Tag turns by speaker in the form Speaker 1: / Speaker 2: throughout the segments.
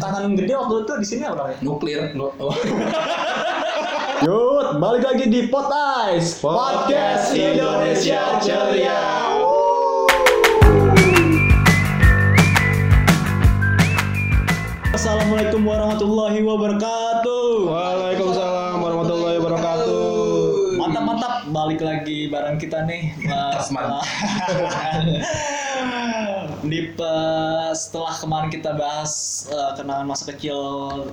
Speaker 1: tangan gede waktu itu di sini apa namanya?
Speaker 2: Nuklir. Nu- oh.
Speaker 3: Yud, balik lagi di Pot Ice
Speaker 1: Podcast Indonesia Ceria. Assalamualaikum warahmatullahi wabarakatuh.
Speaker 3: Waalaikumsalam warahmatullahi wabarakatuh.
Speaker 1: Mantap mantap balik lagi bareng kita nih Mas
Speaker 2: Tasman.
Speaker 1: Di eh, setelah kemarin kita bahas eh, kenangan masa kecil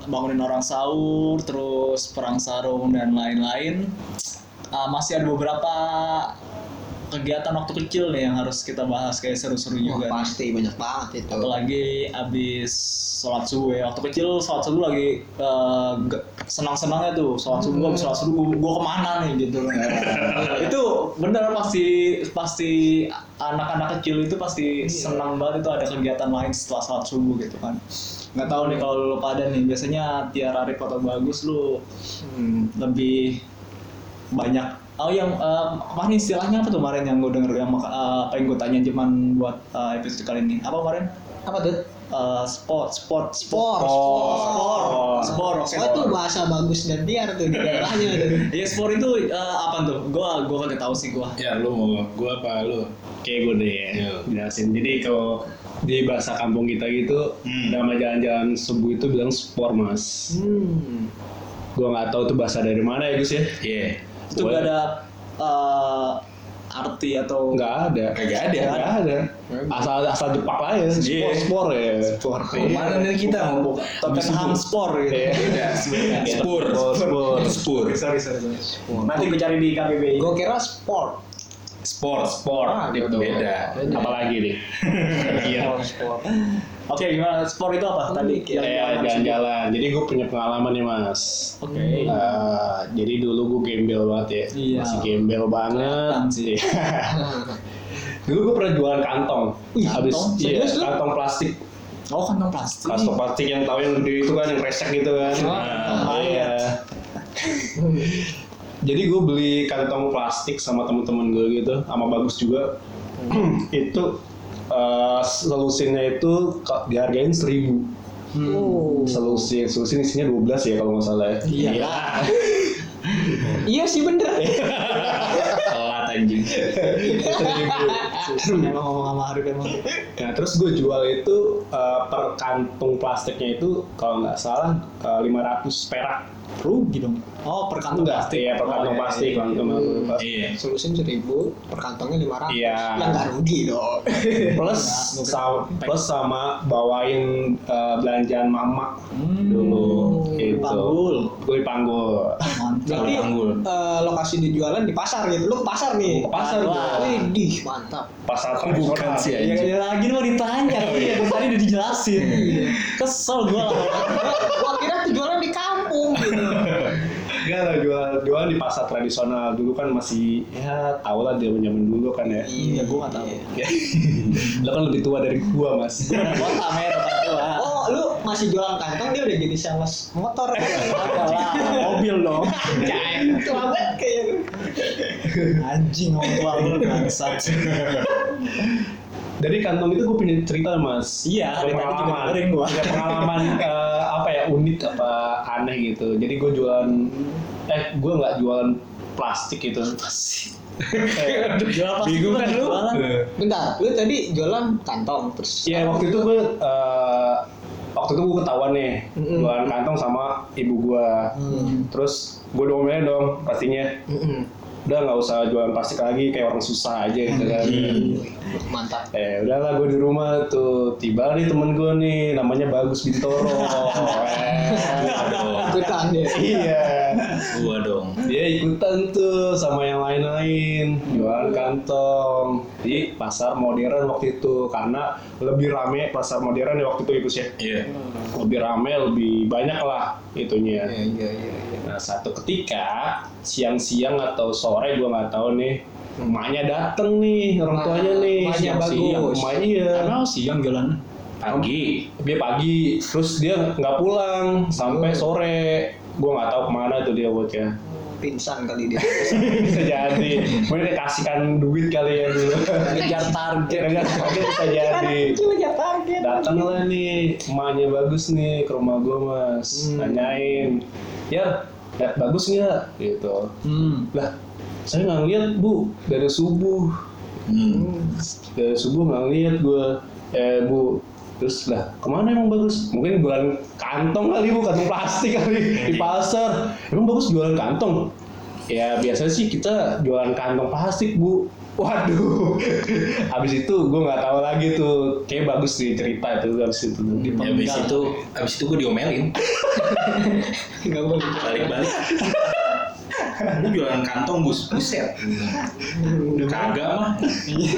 Speaker 1: bangunin orang sahur, terus perang sarung dan lain-lain, eh, masih ada beberapa kegiatan waktu kecil nih yang harus kita bahas kayak seru-seru
Speaker 4: Wah,
Speaker 1: juga.
Speaker 4: pasti banyak banget itu.
Speaker 1: apalagi abis sholat subuh ya waktu kecil sholat subuh lagi eh, ge- senang-senangnya tuh sholat subuh abis sholat subuh gua kemana nih gitu itu bener pasti pasti anak-anak kecil itu pasti senang banget itu ada kegiatan lain setelah sholat subuh gitu kan nggak tahu nih kalau lu pada nih biasanya Tiara Arif atau Bagus lu lebih banyak oh yang eh, kemarin istilahnya apa tuh kemarin yang gue denger yang maka- eh, apa yang gue tanya cuman buat eh, episode kali ini apa kemarin
Speaker 4: Apa tuh?
Speaker 1: Eh, sport sport
Speaker 4: Sport.
Speaker 1: sport sport sport oke,
Speaker 4: Wah, itu
Speaker 1: sport.
Speaker 4: bahasa bagus dan tiar tuh di daerahnya. tuh.
Speaker 1: Iya sport itu eh, apa tuh? Gua gua kagak tahu sih gua.
Speaker 2: Ya lu mau gua apa lu? Iya.
Speaker 5: Oke gue deh ya,
Speaker 2: Yo.
Speaker 5: jelasin. Jadi kalau di bahasa kampung kita gitu,
Speaker 2: Hmm.
Speaker 5: nama jalan-jalan subuh itu bilang spor mas. Gue nggak tahu itu bahasa dari mana ya Gus ya?
Speaker 2: Hmm. Iya.
Speaker 1: Itu gak
Speaker 5: Gua-
Speaker 1: ada eh, arti atau
Speaker 5: Nggak ada.
Speaker 2: Kagak ada.
Speaker 5: Nggak ada. Asal asal Jepang lah ya. Spor spor ya. Spor.
Speaker 2: Kemana nih kita?
Speaker 5: kan
Speaker 1: Tottenham Sport gitu.
Speaker 5: Iya.
Speaker 1: Sebenarnya.
Speaker 2: Spur.
Speaker 5: ya. Spor.
Speaker 2: Spur.
Speaker 1: Sorry, sorry, sorry. Nanti gue cari di KBBI.
Speaker 4: Gue kira sport.
Speaker 2: Sport. Sport.
Speaker 4: Ah,
Speaker 2: Itu beda.
Speaker 5: Apalagi nih? Iya.
Speaker 1: Oke, gimana sport itu apa tadi? Yang- yang-
Speaker 5: Ya, jalan-jalan. Jadi gue punya pengalaman nih mas.
Speaker 1: Oke.
Speaker 5: Eh, jadi dulu gue gembel banget ya,
Speaker 1: Iya.
Speaker 5: masih gembel
Speaker 1: Kelihatan
Speaker 5: banget. Iya.
Speaker 1: sih.
Speaker 5: dulu gue pernah jualan kantong,
Speaker 1: Ih,
Speaker 5: habis
Speaker 1: kantong?
Speaker 5: iya,
Speaker 1: Serius lu?
Speaker 5: kantong plastik,
Speaker 1: Oh, kantong plastik.
Speaker 5: kantong plastik yang tahu yang gede itu kan yang resek gitu kan.
Speaker 2: Ah,
Speaker 5: iya. jadi gue beli kantong plastik sama temen-temen gue gitu, sama bagus juga. itu eh, solusinya itu ka- dihargain seribu.
Speaker 4: Oh.
Speaker 5: Solusi, solusi isinya 12 ya kalau nggak salah ya.
Speaker 4: Iya. Iya sih bener.
Speaker 2: Telat anjing.
Speaker 1: Susah emang ngomong sama Arif emang.
Speaker 5: Nah, terus gue jual itu eh, per kantung plastiknya itu kalau nggak salah eh, 500 perak.
Speaker 1: Rugi dong. Oh, per kantong
Speaker 5: Enggak,
Speaker 1: plastik. Oh,
Speaker 5: iya per kantung plastik, kantung plastik.
Speaker 2: Iya.
Speaker 4: Solusin seribu, per kantongnya lima ratus.
Speaker 5: Iya.
Speaker 4: Ya nggak rugi dong.
Speaker 5: Plus
Speaker 1: Enggak,
Speaker 5: sa- plus sama bawain eh, belanjaan mama
Speaker 1: Hmm.
Speaker 5: dulu gitu.
Speaker 1: Panggul.
Speaker 5: Gue dipanggul.
Speaker 1: Mantap.
Speaker 4: Berarti
Speaker 2: panggul.
Speaker 4: eh, lokasi dijualan di pasar gitu. Lu ke pasar nih.
Speaker 5: Ke pasar
Speaker 1: gua.
Speaker 4: Widih, mantap.
Speaker 5: Pasar
Speaker 2: Bukan
Speaker 5: tradisional.
Speaker 2: sih
Speaker 1: Ya
Speaker 2: anjing.
Speaker 1: ya, lagi mau ditanya, iya gue tadi udah dijelasin. Iya. Kesel gue lah.
Speaker 4: Gua, gua kira dijualan di kampung gitu.
Speaker 5: Enggak lah jual jualan di pasar tradisional dulu kan masih ya tau lah zaman zaman dulu kan ya.
Speaker 1: Iya, gue nggak tahu.
Speaker 5: Lo kan lebih tua dari gua mas.
Speaker 1: Gue udah kota men, tempat tua.
Speaker 4: Oh, lu masih jualan kantong dia udah jadi sales motor.
Speaker 1: Ada lah, mobil dong.
Speaker 4: Jangan tua banget kayaknya.
Speaker 1: Anjing orang tua lu bangsat.
Speaker 5: Dari kantong itu gue punya cerita mas.
Speaker 1: Iya, dari tadi juga
Speaker 5: pengalaman.
Speaker 1: dengerin gua.
Speaker 5: Ada pengalaman eh, apa ya unik apa aneh gitu. Jadi gue jualan, eh gue nggak jualan plastik gitu. Kayak-
Speaker 1: Jual plastik
Speaker 5: Bingung
Speaker 1: lu Iya.
Speaker 5: kan lu?
Speaker 1: jualan.
Speaker 4: Bentar, lu tadi jualan kantong terus
Speaker 5: Iya waktu itu gue eh, waktu itu gue ketahuan nih
Speaker 4: Mm-mm.
Speaker 5: jualan kantong sama ibu gue.
Speaker 1: Hmm.
Speaker 5: Terus gue domelnya dong pastinya.
Speaker 4: Mm-mm.
Speaker 5: Udah nggak usah jualan plastik lagi kayak orang susah aja gitu kan.
Speaker 2: Hmm.
Speaker 4: mantap.
Speaker 5: Eh udahlah gue di rumah tuh tiba nih temen gue nih namanya Bagus Bintoro. Eh,
Speaker 4: Ikutan dia.
Speaker 5: iya.
Speaker 2: Gua dong.
Speaker 5: Dia ikutan tuh sama yang lain-lain jualan kantong di pasar modern waktu itu karena lebih rame pasar modern ya waktu itu itu sih
Speaker 2: Iya.
Speaker 5: lebih rame lebih banyak lah itunya.
Speaker 4: Iya iya iya.
Speaker 5: Nah satu ketika siang-siang atau sore gue nggak tahu nih emaknya dateng nih orang tuanya nih
Speaker 4: Emaknya
Speaker 5: siang-siang.
Speaker 4: Bagus.
Speaker 5: Emak- iya.
Speaker 1: Karena siang jalan.
Speaker 2: Pagi.
Speaker 5: dia
Speaker 4: Oh.
Speaker 5: pagi terus dia nggak pulang sampai sore gue nggak tahu kemana tuh dia buatnya
Speaker 4: pingsan kali dia
Speaker 5: bisa jadi mungkin dikasihkan duit kali ya dulu
Speaker 1: ngejar target
Speaker 5: kira-kira
Speaker 4: Iya.
Speaker 5: target bisa jadi
Speaker 4: Cuma dia target
Speaker 5: datanglah nih emaknya bagus nih ke rumah gue mas
Speaker 4: Hmm.
Speaker 5: nanyain ya lihat bagus nggak gitu
Speaker 1: hmm.
Speaker 5: lah saya nggak ngeliat bu dari subuh
Speaker 2: Hmm.
Speaker 5: dari subuh nggak ngeliat gue eh bu terus lah kemana emang bagus mungkin jualan kantong kali bu kantong plastik kali di
Speaker 2: Iya.
Speaker 5: pasar emang bagus jualan kantong ya biasanya sih kita jualan kantong plastik bu waduh habis itu gue nggak tahu lagi tuh kayak bagus nih cerita itu habis itu
Speaker 2: Ya,
Speaker 1: Iya,
Speaker 2: Habis itu, habis itu gue diomelin.
Speaker 4: Gak boleh
Speaker 2: Balik-balik. Lu jualan kantong bus, buset. Kagak mah.
Speaker 1: Iya.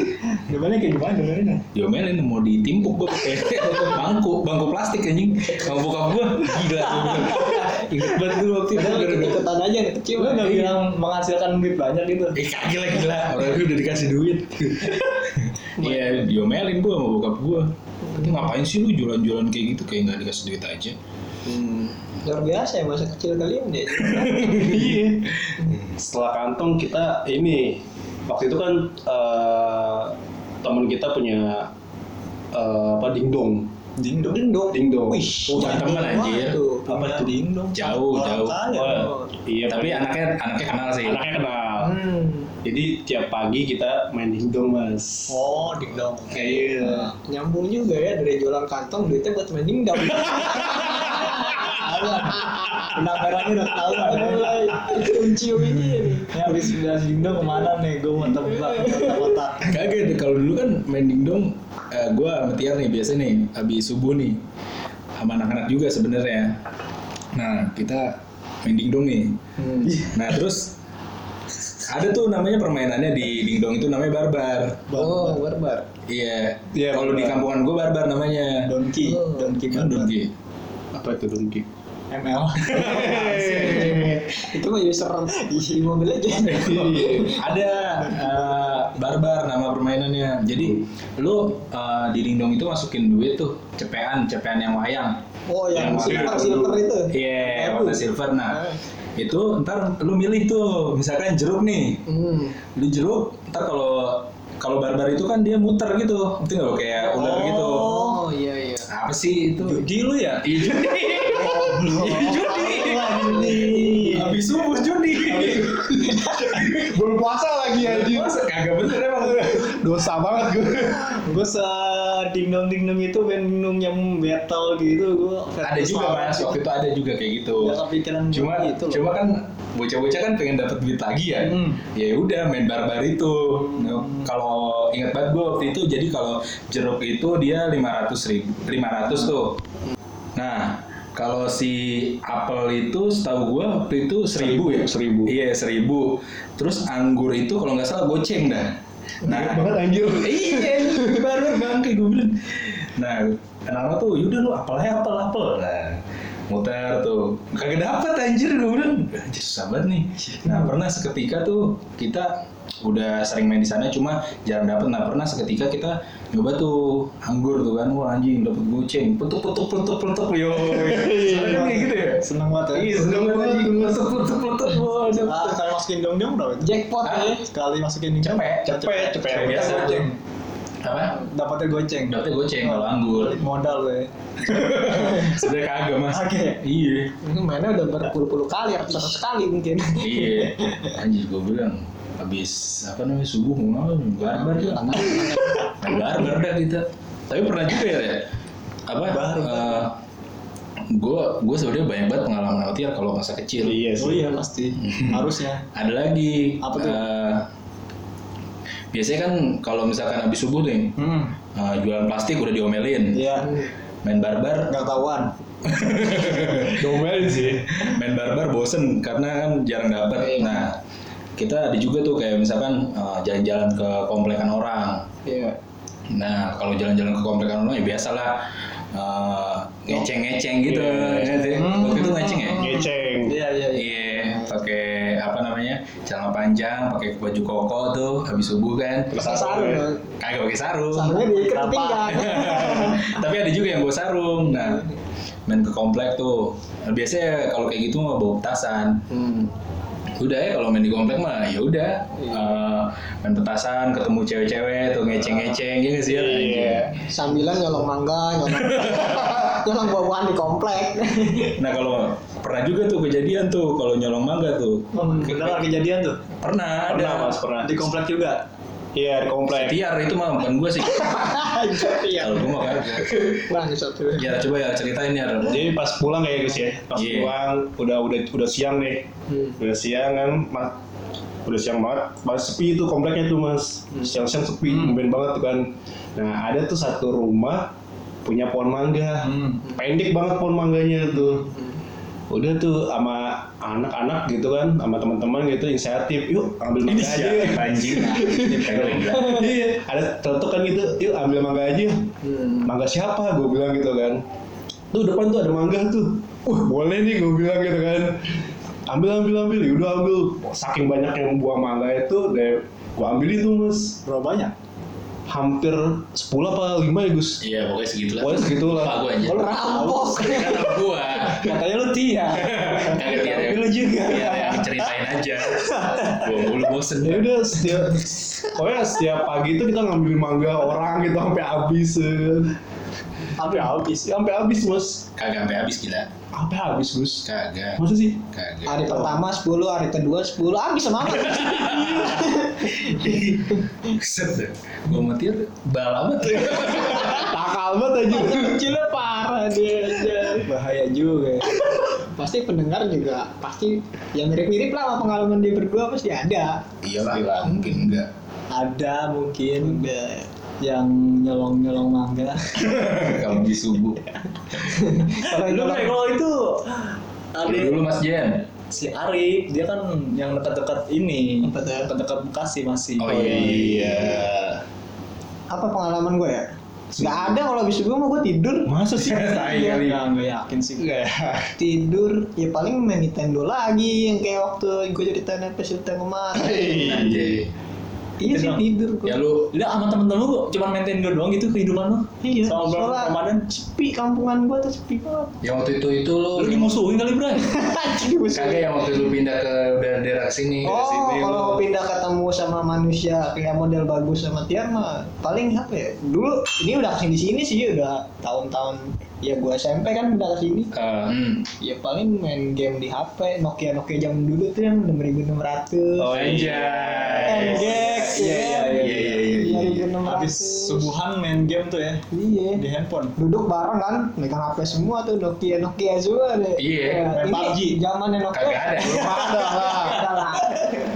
Speaker 4: Gimana kayak gimana dengerin
Speaker 2: Diomelin mau ditimpuk gue pakai bangku, bangku plastik anjing. Sama bokap gue gila. gua bilang. Ingat banget dulu waktu itu.
Speaker 4: Padahal ikut-ikutan aja yang kecil
Speaker 1: Lu gak bilang menghasilkan duit banyak gitu
Speaker 2: Eh kagak lah gila, orang itu udah dikasih duit Iya diomelin gue sama bokap gue Tapi ngapain sih lu jualan-jualan kayak gitu, kayak nggak dikasih duit aja
Speaker 4: Luar biasa ya masa kecil kalian deh
Speaker 5: Iya. Setelah kantong kita ini waktu itu kan eh, teman kita punya eh, apa dingdong.
Speaker 1: dingdong
Speaker 4: Dingdong
Speaker 5: Dingdong.
Speaker 4: Wih
Speaker 2: Oh, bukan teman, anjir.
Speaker 1: apa ya dingdong
Speaker 2: Jauh, jauh.
Speaker 5: Oh, iya.
Speaker 2: Tapi
Speaker 5: Tapi
Speaker 2: anaknya anaknya kenal sih
Speaker 5: anaknya kenal.
Speaker 4: Hmm
Speaker 5: Jadi tiap pagi kita main dingdong mas.
Speaker 1: oh dingdong
Speaker 5: Iya.
Speaker 4: Nyambung juga ya dari jualan kantong duitnya buat main dingdong
Speaker 1: penampilannya udah tahu kan
Speaker 4: Mulai kunci ini
Speaker 1: ya habis bilang dingdong kemana nih gue mau tebak kotak-kotak
Speaker 2: Kagak, kalau dulu kan main dingdong eh, Gue sama Tiar nih, biasa nih, habis subuh nih Sama anak-anak juga sebenarnya Nah, kita main dingdong nih Nah, terus ada tuh namanya permainannya di dingdong itu namanya barbar
Speaker 4: Oh barbar
Speaker 2: Iya,
Speaker 5: Iya,
Speaker 2: kalau di
Speaker 5: barbar.
Speaker 2: kampungan gue barbar namanya
Speaker 1: donki donki
Speaker 2: Kan
Speaker 1: banget
Speaker 2: Donki.
Speaker 5: Apa itu dongki?
Speaker 1: ml
Speaker 4: Itu mah user di mobil aja
Speaker 2: Ada eh, barbar nama permainannya. Jadi lu eh, di dingdong itu masukin duit tuh, cepean, cepean yang wayang.
Speaker 4: Oh yang
Speaker 5: Yang
Speaker 4: silver
Speaker 5: warna
Speaker 4: silver itu
Speaker 2: Iya,
Speaker 4: Abu.
Speaker 2: warna silver nah.
Speaker 4: Ah.
Speaker 2: Itu ntar lu milih tuh, misalkan jeruk nih.
Speaker 4: Hmm
Speaker 2: Lu jeruk, ntar kalau kalau barbar itu kan dia muter gitu. Itu nggak kayak ular gitu.
Speaker 4: Oh iya iya
Speaker 2: Apa sih itu? Iya,
Speaker 1: judi lu ya
Speaker 2: Ih, judi. Ih, Iya, judi. Habis subuh judi.
Speaker 5: Belum puasa lagi ya
Speaker 2: Masa kagak bener emang
Speaker 5: Dosa banget gue.
Speaker 1: gue se dingdong dingdong itu band dingdong yang battle gitu gue
Speaker 2: ada juga mas waktu itu ada juga kayak gitu
Speaker 1: gak kepikiran
Speaker 2: cuma
Speaker 1: judi itu loh.
Speaker 2: cuma kan bocah-bocah kan pengen dapat duit lagi ya
Speaker 1: Hmm.
Speaker 2: ya udah main barbar itu Nah, kalau ingat banget gue waktu itu jadi kalau jeruk itu dia 500 ribu 500 tuh nah kalau si apel itu setahu gue waktu itu 1000 ya
Speaker 5: Seribu.
Speaker 2: iya 1000 terus anggur itu kalau nggak salah goceng dah nah
Speaker 5: Banget anjir.
Speaker 2: iya baru bangke gue bilang nah anak-anak tuh yaudah lu apel aja apel apel nah muter tuh kagak dapat anjir gue bilang anjir susah banget nih nah pernah seketika tuh kita udah sering main di sana cuma jarang dapet nah pernah seketika kita nyoba tuh anggur tuh kan wah anjing dapet goceng petuk petuk petuk petuk yo Soalnya kan kayak gitu ya
Speaker 1: Iya. seneng banget ya
Speaker 2: iya seneng banget anjing petuk petuk petuk wah
Speaker 1: Ah, sekali masukin dong dong berapa itu?
Speaker 4: Jackpot
Speaker 2: Ah.
Speaker 4: ya
Speaker 1: sekali masukin dingdong
Speaker 2: Cepet,
Speaker 1: cepet cepet
Speaker 2: Kayak biasa
Speaker 1: goceng
Speaker 2: apa
Speaker 1: dapatnya goceng
Speaker 2: dapetnya goceng kalau anggur
Speaker 1: balik modal lu ya
Speaker 2: sebenarnya kagak mas
Speaker 1: Oke.
Speaker 2: iya
Speaker 4: Ini mainnya udah berpuluh-puluh kali atau seratus kali mungkin
Speaker 2: iya anjir gue bilang habis apa namanya subuh mau apa barbar tuh anak Main barbar dah kita tapi pernah juga ya Re? apa gue gue sebenarnya banyak banget pengalaman sama Tiar kalau masa kecil
Speaker 5: Iya
Speaker 1: oh
Speaker 5: sih.
Speaker 1: iya pasti harusnya
Speaker 2: ada lagi
Speaker 1: Apa tuh?
Speaker 2: eh, biasanya kan kalau misalkan habis subuh nih
Speaker 1: hmm
Speaker 2: eh, jualan plastik udah diomelin
Speaker 1: iya
Speaker 2: main barbar
Speaker 1: nggak ketahuan
Speaker 5: Domelin sih.
Speaker 2: main barbar bosen karena kan jarang dapat. Nah, kita ada juga tuh kayak misalkan eh, jalan-jalan ke komplekan orang.
Speaker 4: Iya
Speaker 2: Nah, kalau jalan-jalan ke komplekan orang ya biasalah eh, ngeceng-ngeceng gitu.
Speaker 5: Iya. Hmm,
Speaker 2: ya sih. Waktu itu ngeceng ya?
Speaker 5: Ngeceng.
Speaker 1: iya iya iya
Speaker 2: Iya, pakai apa namanya? celana panjang, pakai baju koko tuh habis subuh kan.
Speaker 5: Terus
Speaker 4: Sarung
Speaker 2: Kagak pakai sarung.
Speaker 4: Sarungnya diikat ke pinggang
Speaker 2: Tapi ada juga yang bawa sarung. Nah,
Speaker 5: Hmm.
Speaker 2: main ke komplek tuh. Nah, biasanya kalau kayak gitu mah bawa petasan. udah ya kalau main di komplek mah ya udah
Speaker 5: Iya.
Speaker 2: Eh, main petasan ketemu cewek-cewek atau ngeceng-ngeceng gitu sih ya
Speaker 5: Iya.
Speaker 4: Sambilan nyolong mangga, nyolong nyolong buah-buahan di komplek.
Speaker 2: nah kalau pernah juga tuh kejadian tuh kalau nyolong mangga tuh
Speaker 4: Hmm,
Speaker 1: Benar kejadian tuh.
Speaker 2: pernah ada
Speaker 5: Pernah, Mas, pernah.
Speaker 1: Di komplek juga.
Speaker 5: Iya, di komplek.
Speaker 2: tiar itu mah bukan gue sih
Speaker 4: Iya.
Speaker 2: kalau gue mah kan
Speaker 4: Bangsat tuh.
Speaker 2: ya coba ya ceritain ya Ron.
Speaker 5: Jadi pas pulang kayak Gus ya, pas
Speaker 2: Iya.
Speaker 5: pulang udah udah udah siang nih,
Speaker 4: Hmm.
Speaker 5: udah siang kan, mat, udah siang banget, banget sepi itu kompleknya tuh mas,
Speaker 2: Hmm.
Speaker 5: siang-siang sepi, tumben banget tuh kan. Nah ada tuh satu rumah punya pohon mangga,
Speaker 2: Hmm.
Speaker 5: pendek banget pohon mangganya tuh. Udah tuh sama anak-anak gitu kan, sama teman-teman gitu inisiatif, yuk ambil mangga aja.
Speaker 2: siapa Iya, anjing ini pengen gila.
Speaker 5: Iya, ada tertukan gitu, yuk ambil mangga aja.
Speaker 4: Hmm.
Speaker 5: Mangga siapa? Gue bilang gitu kan. Tuh depan tuh ada mangga tuh. Wah boleh nih gue bilang gitu kan. Ambil ambil ambil, yaudah ambil. Saking banyak yang buang mangga itu, deh gue ambilin tuh mas.
Speaker 1: Berapa banyak?
Speaker 5: Hampir 10 apa 5 ya Gus?
Speaker 2: iya pokoknya segitulah
Speaker 5: Pokoknya segitulah.
Speaker 2: Lupa gue aja
Speaker 4: Lu rampok.
Speaker 2: karena gue
Speaker 1: Katanya lu tiar.
Speaker 2: kagak tiar ya.
Speaker 1: Tapi lu juga.
Speaker 2: Iya, ya, ceritain aja gue mulu bosen
Speaker 5: Ya udah setiap pokoknya setiap pagi itu kita ngambil mangga orang gitu sampai habis. eh.
Speaker 1: Tapi habis.
Speaker 5: Sampai habis mas.
Speaker 2: kagak sampai habis gila
Speaker 5: Sampai habis Gus.
Speaker 2: kagak
Speaker 5: Masa sih?
Speaker 2: kagak
Speaker 4: Hari pertama 10, hari kedua Ah, 10, habis sama apa?
Speaker 2: set gue metir bal amat
Speaker 5: Takal banget aja.
Speaker 4: Kecilnya parah dia. dia.
Speaker 1: Bahaya juga.
Speaker 4: Pasti pendengar juga pasti yang mirip-mirip lah sama pengalaman dia berdua pasti ada.
Speaker 2: iya lah mungkin enggak
Speaker 1: Ada mungkin yang nyolong-nyolong mangga.
Speaker 2: kalau di subuh
Speaker 4: Kalau
Speaker 1: Lu kayak kalau itu
Speaker 2: Lu
Speaker 1: ada
Speaker 2: dulu Mas Jen
Speaker 1: si Arif, dia kan yang dekat-dekat ini,
Speaker 4: Apa tuh?
Speaker 1: dekat-dekat Bekasi masih.
Speaker 2: oh iya
Speaker 4: apa pengalaman gue ya? Gak ada kalau habis gue mau gue tidur.
Speaker 5: Masa sih?
Speaker 1: Tai kali. Iya, Nggak nggak yakin sih.
Speaker 5: Enggak.
Speaker 4: tidur ya paling main Nintendo lagi yang kayak waktu gue jadi tanah peserta kemarin
Speaker 2: Anjay.
Speaker 4: iya sih
Speaker 1: Nintendo.
Speaker 4: tidur gue
Speaker 2: Iya ya lu
Speaker 1: Lu sama temen-temen lu cuma main Nintendo doang gitu kehidupan lu.
Speaker 4: iya
Speaker 1: Selama bulan
Speaker 4: soalnya
Speaker 1: Ramadan.
Speaker 4: sepi kampungan gue tuh sepi banget
Speaker 2: yang waktu itu itu lu
Speaker 1: Lu dimusuhin kali, Bray.
Speaker 4: Anjing, gue
Speaker 2: kagak ya, yang waktu lu pindah ke daerah- daerah sini
Speaker 4: Oh,
Speaker 2: sini
Speaker 4: kalau pindah ketemu sama manusia kayak model bagus sama Tiar mah paling apa ya? Dulu ini udah kesini sini sih udah tahun-tahun ya gua SMP kan udah kesini.
Speaker 2: Eh,
Speaker 5: Iya,
Speaker 2: hmm.
Speaker 4: Ya paling main game di HP Nokia Nokia zaman dulu tuh yang 6600.
Speaker 2: oh
Speaker 4: NGX,
Speaker 2: anjay
Speaker 4: ya
Speaker 1: Iya, iya,
Speaker 4: kan?
Speaker 1: iya,
Speaker 2: iya iya iya, iya iya
Speaker 4: 2600.
Speaker 1: Habis subuhan main game tuh ya
Speaker 4: Iya.
Speaker 1: di handphone.
Speaker 4: duduk bareng kan megang HP semua tuh Nokia Nokia semua deh Ya,
Speaker 2: Iya,
Speaker 1: main
Speaker 4: ini
Speaker 1: PUBG.
Speaker 4: zamannya Nokia
Speaker 2: Kagak ada.
Speaker 4: belum ada lah Ada lah.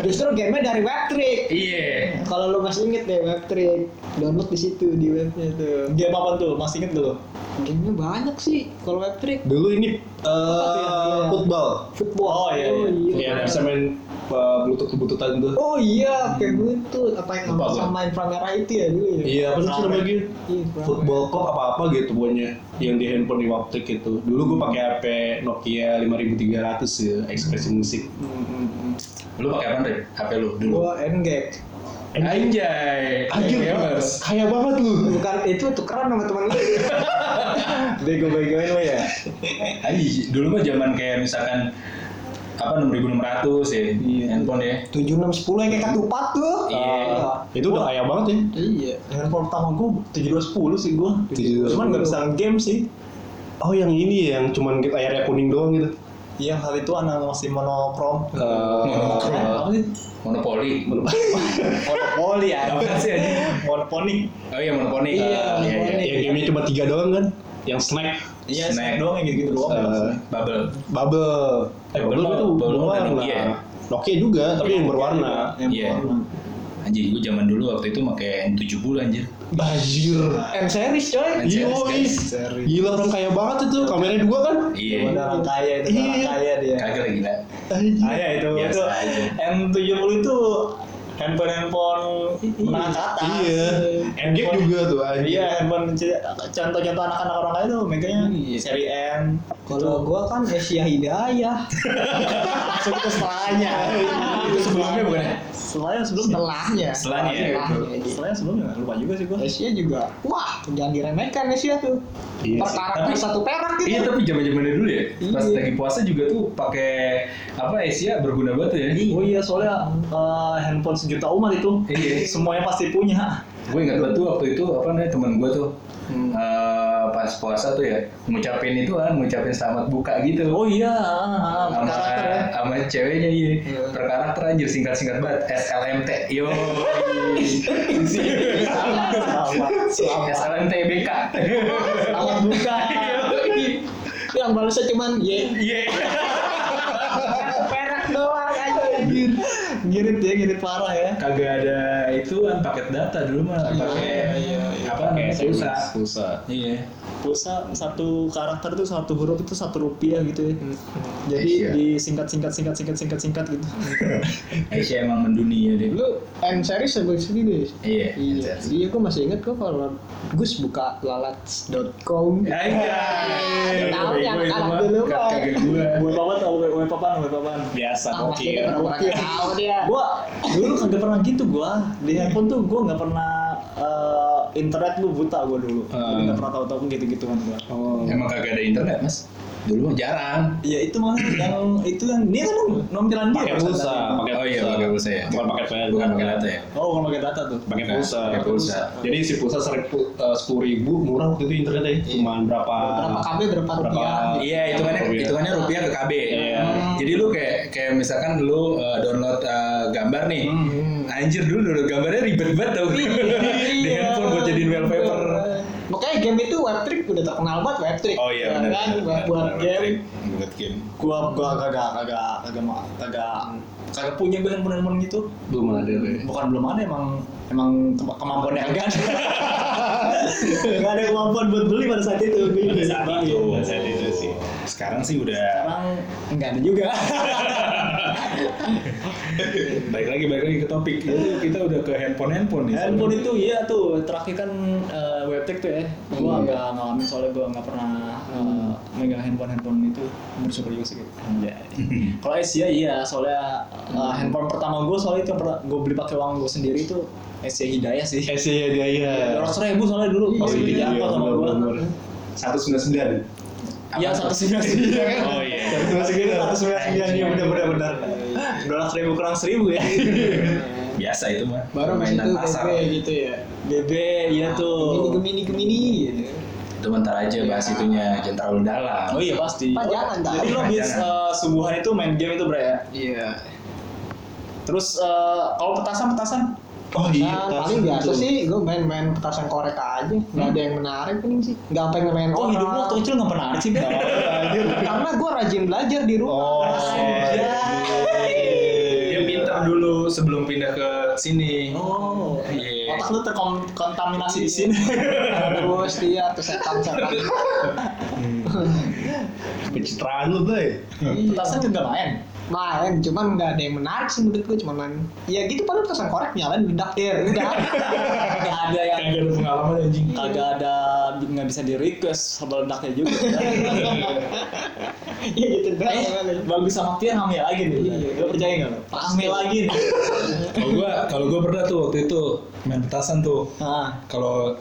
Speaker 4: justru gamenya dari Webtrick
Speaker 2: iya
Speaker 4: kalau lu masih inget deh Webtrick download di situ di webnya tuh
Speaker 1: Game apa tuh? Masih inget dulu?
Speaker 4: gamenya banyak sih kalau Webtrick
Speaker 5: Dulu ini eh football.
Speaker 1: Oh,
Speaker 4: football
Speaker 1: iya,
Speaker 4: oh iya
Speaker 5: Iya, bisa main butut-bututan tuh.
Speaker 4: oh iya kayak butut apa yang sama
Speaker 5: Lupa gua.
Speaker 4: sama main kamera itu ya dulu ya
Speaker 5: Iya, apa sih namanya gitu?
Speaker 4: Iya, Frame.
Speaker 5: Football club apa-apa gitu pokoknya yang di handphone di Waptek itu. Dulu gua pakai HP Nokia 5300 ya, ekspresi musik.
Speaker 2: lu pakai apa Andre? HP lu dulu
Speaker 4: gua NGAG
Speaker 2: anjay Iya,
Speaker 5: Anjir,
Speaker 2: Gamers.
Speaker 5: kaya banget lu.
Speaker 4: bukan itu tukeran sama teman lu
Speaker 1: Bego-begoin lo ya?
Speaker 2: Ay, Iya. dulu mah zaman kayak misalkan apa 6600 ya handphone ya
Speaker 4: tujuh enam sepuluh yang kayak ketupat tuh
Speaker 2: Iya.
Speaker 5: Itu udah kaya banget ya.
Speaker 4: iya
Speaker 1: Ah, Handphone pertama gue 7210 sih gue
Speaker 5: 7210.
Speaker 1: Cuman gak bisa game sih
Speaker 5: Oh, yang ini ya, yang cuman kita layarnya kuning doang gitu.
Speaker 1: Yang saat Iya, itu anak masih monokrom
Speaker 5: Eh,
Speaker 1: Apa sih?
Speaker 2: monopoli
Speaker 1: Monopoli ya
Speaker 2: Apa sih, anjing?
Speaker 1: Monoponik
Speaker 2: oh iya monopoli
Speaker 4: Iya,
Speaker 2: Ah,
Speaker 4: monopoli.
Speaker 5: yang gamenya cuma tiga doang kan? Yang snack
Speaker 1: Iya
Speaker 2: Snack.
Speaker 1: snack doang yang gitu doang
Speaker 5: Eh,
Speaker 1: ya.
Speaker 2: bubble
Speaker 5: Bubble. Eh,
Speaker 2: Bubble
Speaker 5: Bubble
Speaker 2: mah-
Speaker 5: itu
Speaker 2: Bubble mah
Speaker 5: berwarna.
Speaker 2: Nokia ya?
Speaker 5: Nokia juga, tapi yang berwarna.
Speaker 1: Yang
Speaker 2: Iya.
Speaker 1: berwarna.
Speaker 2: anjir gue zaman dulu waktu itu pakai N70 anjir
Speaker 5: Bajir.
Speaker 4: M series coy.
Speaker 2: Anjir,
Speaker 5: Yois.
Speaker 1: Serius.
Speaker 5: Gila orang kaya banget itu, kameranya dua kan?
Speaker 2: iya
Speaker 1: Udah orang kaya itu orang
Speaker 5: Iya.
Speaker 1: kaya dia
Speaker 2: kagak lagi lah
Speaker 5: Anjir.
Speaker 1: Ayah itu
Speaker 2: Biasa
Speaker 1: itu
Speaker 2: aja.
Speaker 1: M70 itu handphone handphone menengah ke atas
Speaker 5: Iya. Endgame
Speaker 1: Handphone-
Speaker 5: juga tuh anjing.
Speaker 1: iya handphone c- contoh-contoh anak-anak orang lain tuh megangnya seri M
Speaker 4: Kalau gua kan Asia Hidayah.
Speaker 1: masuk ke setelahnya
Speaker 2: Itu sebelumnya bukan ya?
Speaker 1: setelahnya sebelumnya
Speaker 4: Setelahnya.
Speaker 2: Setelahnya,
Speaker 4: gitu.
Speaker 1: setelahnya sebelumnya lupa juga sih gua
Speaker 4: Asia juga. Wah, jangan diremehkan Asia tuh.
Speaker 5: Iya.
Speaker 4: Perkara
Speaker 2: Tapi-
Speaker 4: satu perak gitu.
Speaker 2: Iya tapi zaman zamannya dulu ya. Pas
Speaker 4: Iya.
Speaker 2: lagi puasa juga tuh pakai apa Asia berguna banget tuh ya.
Speaker 1: oh iya soalnya eh, handphone sejuta umat itu
Speaker 2: Iya.
Speaker 1: semuanya pasti punya
Speaker 2: Gue ingat banget tuh waktu itu apa namanya teman gue tuh eh, pas puasa tuh ya ngucapin itu kan ngucapin selamat buka gitu.
Speaker 1: oh iya
Speaker 2: sama
Speaker 1: karakter ya
Speaker 2: sama ceweknya iya per karakter anjir singkat singkat banget SLMT yo
Speaker 1: sama
Speaker 2: SLMTBK
Speaker 4: Selamat buka. Yang balasnya cuman ye.
Speaker 2: iya
Speaker 4: Perak doang aja.
Speaker 1: ngirit ya ngirit parah ya
Speaker 2: kagak ada itu kan paket data dulu mah
Speaker 1: Iya,
Speaker 2: pakai
Speaker 1: iya, iya.
Speaker 2: apa namanya pulsa
Speaker 5: Susah.
Speaker 2: iya
Speaker 1: pulsa satu karakter tuh satu huruf itu satu rupiah gitu ya jadi
Speaker 5: Iya.
Speaker 1: disingkat singkat singkat singkat singkat singkat gitu
Speaker 2: Aisyah Eh, emang mendunia deh
Speaker 4: Lu M series sebelum serius.
Speaker 2: iya
Speaker 4: Iya, iya gue masih inget kok kalau Gus buka lalats.com
Speaker 2: Iya, Ya, Aisyah
Speaker 4: Tahu yang anak dulu,
Speaker 2: dulu
Speaker 4: Pak.
Speaker 2: kagak gua
Speaker 1: gue papan tau gue papan gue papan
Speaker 2: biasa
Speaker 4: Ah,
Speaker 2: oke
Speaker 4: masih ada orang-orang yang tahu dia.
Speaker 1: gue dulu kagak pernah gitu gue di
Speaker 5: Hmm.
Speaker 1: handphone tuh gue nggak pernah eh, internet gue buta gue dulu
Speaker 5: Ah.
Speaker 1: Jadi nggak pernah tahu tahu gitu gituan gue
Speaker 5: Oh.
Speaker 2: emang kagak ada internet mas dulu mah jarang
Speaker 1: ya itu malah yang itu yang dia kan nompilan dia
Speaker 5: Pakai
Speaker 1: kan?
Speaker 5: pulsa, pakai
Speaker 2: oh iya
Speaker 5: pulsa.
Speaker 2: pakai pulsa ya
Speaker 5: Bukan pakai pulsa,
Speaker 2: bukan pakai data ya
Speaker 1: oh bukan pakai data tuh
Speaker 5: pakai
Speaker 2: Nah,
Speaker 5: pulsa.
Speaker 2: pakai pulsa.
Speaker 5: Jadi si pulsa eh, sepuluh ribu murah waktu itu internetnya ya. Cuman berapa?
Speaker 4: Berapa KB berapa
Speaker 5: Berapa?
Speaker 4: rupiah?
Speaker 2: Iya, hitungannya
Speaker 5: Rupiah.
Speaker 2: hitungannya rupiah ke KB.
Speaker 5: Iya.
Speaker 2: Jadi lu kayak kayak misalkan lu uh, download uh, gambar nih. Anjir dulu download gambarnya ribet banget tau. Di handphone buat jadiin wallpaper.
Speaker 4: Iya. Makanya game itu web trick udah terkenal banget web trick.
Speaker 2: Oh iya
Speaker 4: Ya
Speaker 2: benar.
Speaker 4: Kan web
Speaker 2: benar,
Speaker 4: buat
Speaker 2: benar,
Speaker 4: game.
Speaker 2: benar, Buat game.
Speaker 1: gue gue kagak kagak kagak mau kagak kagak punya gue handphone handphone gitu
Speaker 5: Belum ada deh.
Speaker 1: bukan belum ada emang emang ke- kemampuannya enggak ada nggak ada kemampuan buat beli pada saat itu
Speaker 4: Iya,
Speaker 1: beli
Speaker 2: Pada saat
Speaker 1: Beli.
Speaker 2: itu, pada saat itu sih. Sekarang sih udah
Speaker 1: sekarang nggak ada juga
Speaker 2: balik lagi balik lagi ke topik. Jadi kita udah ke handphone handphone nih.
Speaker 1: handphone itu iya tuh terakhir kan eh, webtek tuh ya gue agak ngalamin soalnya gue nggak pernah eh, megang handphone handphone itu bersyukur juga sih Anjay. kalau Asia iya soalnya eh, handphone pertama gue soalnya itu yang pernah gue beli pakai uang gue sendiri itu Asia Hidayah sih
Speaker 5: Eh sih ya dia ya.
Speaker 1: Dua ribu soalnya dulu pas
Speaker 5: Oh,
Speaker 1: di
Speaker 5: iya,
Speaker 1: Jakarta sama gue.
Speaker 5: benar, benar, benar. 199.
Speaker 1: Iya kan? satu sembilan sembilan.
Speaker 2: Oh iya.
Speaker 5: gitu.
Speaker 1: Satu sembilan sembilan iya benar benar benar. Dua ratus ribu kurang seribu ya.
Speaker 2: Biasa itu mah.
Speaker 4: Baru mas
Speaker 2: mainan
Speaker 4: itu
Speaker 2: pasar.
Speaker 4: BB gitu ya.
Speaker 1: BB iya
Speaker 4: Gemini
Speaker 1: tuh.
Speaker 4: gemini gemini. gitu.
Speaker 2: Itu bentar aja bahas itunya, jangan terlalu dalam.
Speaker 1: Oh iya pasti.
Speaker 4: Pak, jangan, tak.
Speaker 1: Jadi lo habis
Speaker 2: Jangan.
Speaker 1: eh, subuhan itu main game itu bre ya.
Speaker 4: Iya.
Speaker 1: Terus eh, kalau petasan petasan
Speaker 5: Oh
Speaker 1: iya,
Speaker 4: Nah, paling biasa
Speaker 5: tuh.
Speaker 4: sih gue main-main petasan korek aja, nggak ada yang menarik paling sih, nggak pengen main
Speaker 1: Hmm. Oh hidup lo waktu kecil nggak pernah menarik sih bre.
Speaker 4: Karena gue rajin belajar di
Speaker 5: Oh,
Speaker 4: rumah.
Speaker 5: iya.
Speaker 1: Anjay.
Speaker 2: Dia pinter dulu sebelum pindah ke sini.
Speaker 1: Oh,
Speaker 2: Iya.
Speaker 1: otak lu terkontaminasi di sini.
Speaker 4: Terus dia terus setan-setan.
Speaker 1: Iya.
Speaker 5: Pencitraan lu deh.
Speaker 1: Petasan juga main.
Speaker 4: main cuman nggak ada yang menarik sih menurut gue cuman main ya gitu paling pesan korek nyalain bedak ya udah
Speaker 1: Gak ada yang
Speaker 2: Kagak ada pengalaman anjing.
Speaker 1: kagak ada nggak bisa di request meledaknya juga
Speaker 4: ya gitu doang
Speaker 1: Eh, bagus sama Tian hamil lagi nih lo percaya nggak lo hamil lagi nih
Speaker 2: Kalau gua kalau gua pernah tuh waktu itu main petasan tuh.
Speaker 1: Ah,
Speaker 2: Kalau